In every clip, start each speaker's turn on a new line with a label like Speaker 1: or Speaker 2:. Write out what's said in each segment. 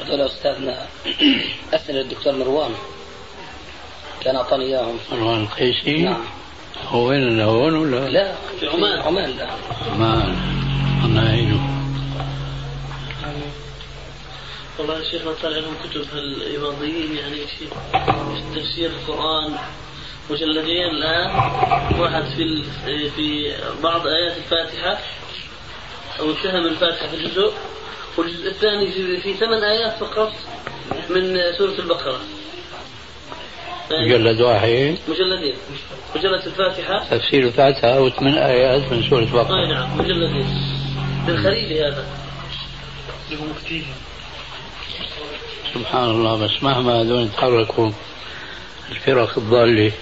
Speaker 1: قلت له أستاذنا أسئلة الدكتور مروان كان أعطاني إياهم
Speaker 2: مروان القيسي
Speaker 1: نعم
Speaker 2: هو وين هون ولا
Speaker 1: لا في عمان عمان لا
Speaker 2: ما الله يعينه
Speaker 3: والله يا شيخ طالع لهم كتب الإباضيين يعني يا شيخ في تفسير القرآن مجلدين الآن واحد في ال- في بعض آيات الفاتحة وانتهى من الفاتحة في جزء والجزء الثاني في- في ثمان آيات فقط من سورة البقرة يعني
Speaker 2: مجلد واحد
Speaker 3: مجلدين مجلد الفاتحة
Speaker 2: تفسير الفاتحة وثمان آيات من سورة
Speaker 3: اي
Speaker 2: بقرة
Speaker 3: نعم مجلدين للخليلي هذا
Speaker 2: سبحان الله بس مهما هذول يتحركوا الفرق الضالة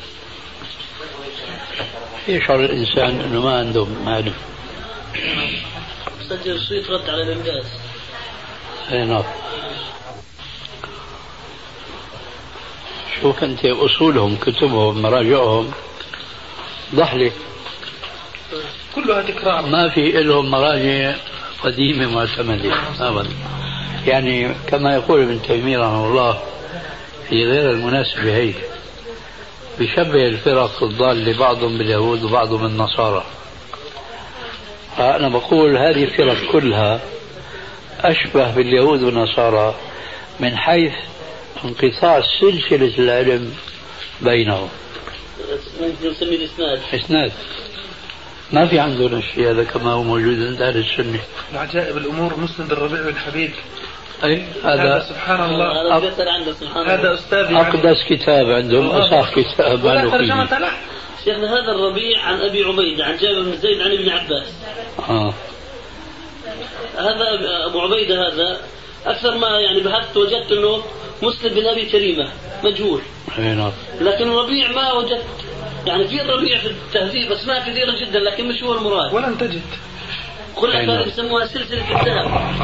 Speaker 2: يشعر الإنسان أنه ما عندهم معرفة
Speaker 3: مسجل السويد رد على ابن باز
Speaker 2: enough شوف أنت أصولهم كتبهم مراجعهم ضحلة
Speaker 4: كلها تكرار
Speaker 2: ما في لهم مراجع قديمة معتمدة أبدا يعني كما يقول ابن تيمية رحمه الله في غير المناسبة هي بشبه الفرق الضالة بعضهم باليهود وبعضهم بالنصارى فأنا بقول هذه الفرق كلها أشبه باليهود والنصارى من حيث انقطاع سلسلة العلم بينهم
Speaker 3: نسمي الاسناد
Speaker 2: إسناد ما في عندنا الشيء هذا كما هو موجود عند أهل السنة
Speaker 4: من عجائب الامور مسند الربيع بن حبيب
Speaker 2: اي
Speaker 4: هذا
Speaker 2: هذا
Speaker 4: سبحان الله
Speaker 3: هذا بيسأل عنده سبحان
Speaker 4: هذا
Speaker 3: الله
Speaker 4: استاذ يعني.
Speaker 2: اقدس كتاب عندهم اصح كتاب
Speaker 4: ولا
Speaker 2: قالوا فيه
Speaker 4: ترجمة له
Speaker 3: شيخنا هذا الربيع عن ابي عبيده عن جابر بن زيد عن ابن عباس
Speaker 2: اه
Speaker 3: هذا أب- ابو عبيده هذا اكثر ما يعني بحثت وجدت انه مسلم بن ابي كريمه مجهول
Speaker 2: اي نعم
Speaker 3: لكن الربيع ما وجدت يعني في الربيع في التهذيب اسماء كثيره جدا لكن مش هو المراد
Speaker 4: ولن تجد
Speaker 3: كل
Speaker 2: أي نعم.
Speaker 3: هذول يسموها سلسله الذهب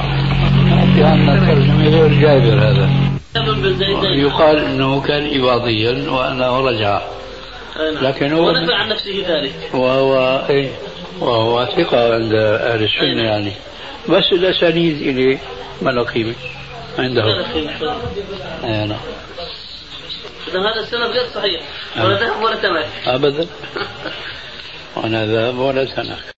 Speaker 2: في عندنا ترجمه غير جابر هذا
Speaker 3: جابر بن
Speaker 2: أيوه.
Speaker 3: زيد
Speaker 2: يقال انه كان اباضيا وانه رجع لكن هو-
Speaker 3: ونفى نعم. عن نفسه ذلك
Speaker 2: وهو اي وهو ثقه عند اهل السنه يعني بس الاسانيد اليه ما له قيمه عندهم
Speaker 3: أيوة.
Speaker 2: اي نعم
Speaker 3: اذا هذا السند غير صحيح
Speaker 2: أي.
Speaker 3: ولا ذهب ولا تمام
Speaker 2: ابدا وانا ذهب ولا تنك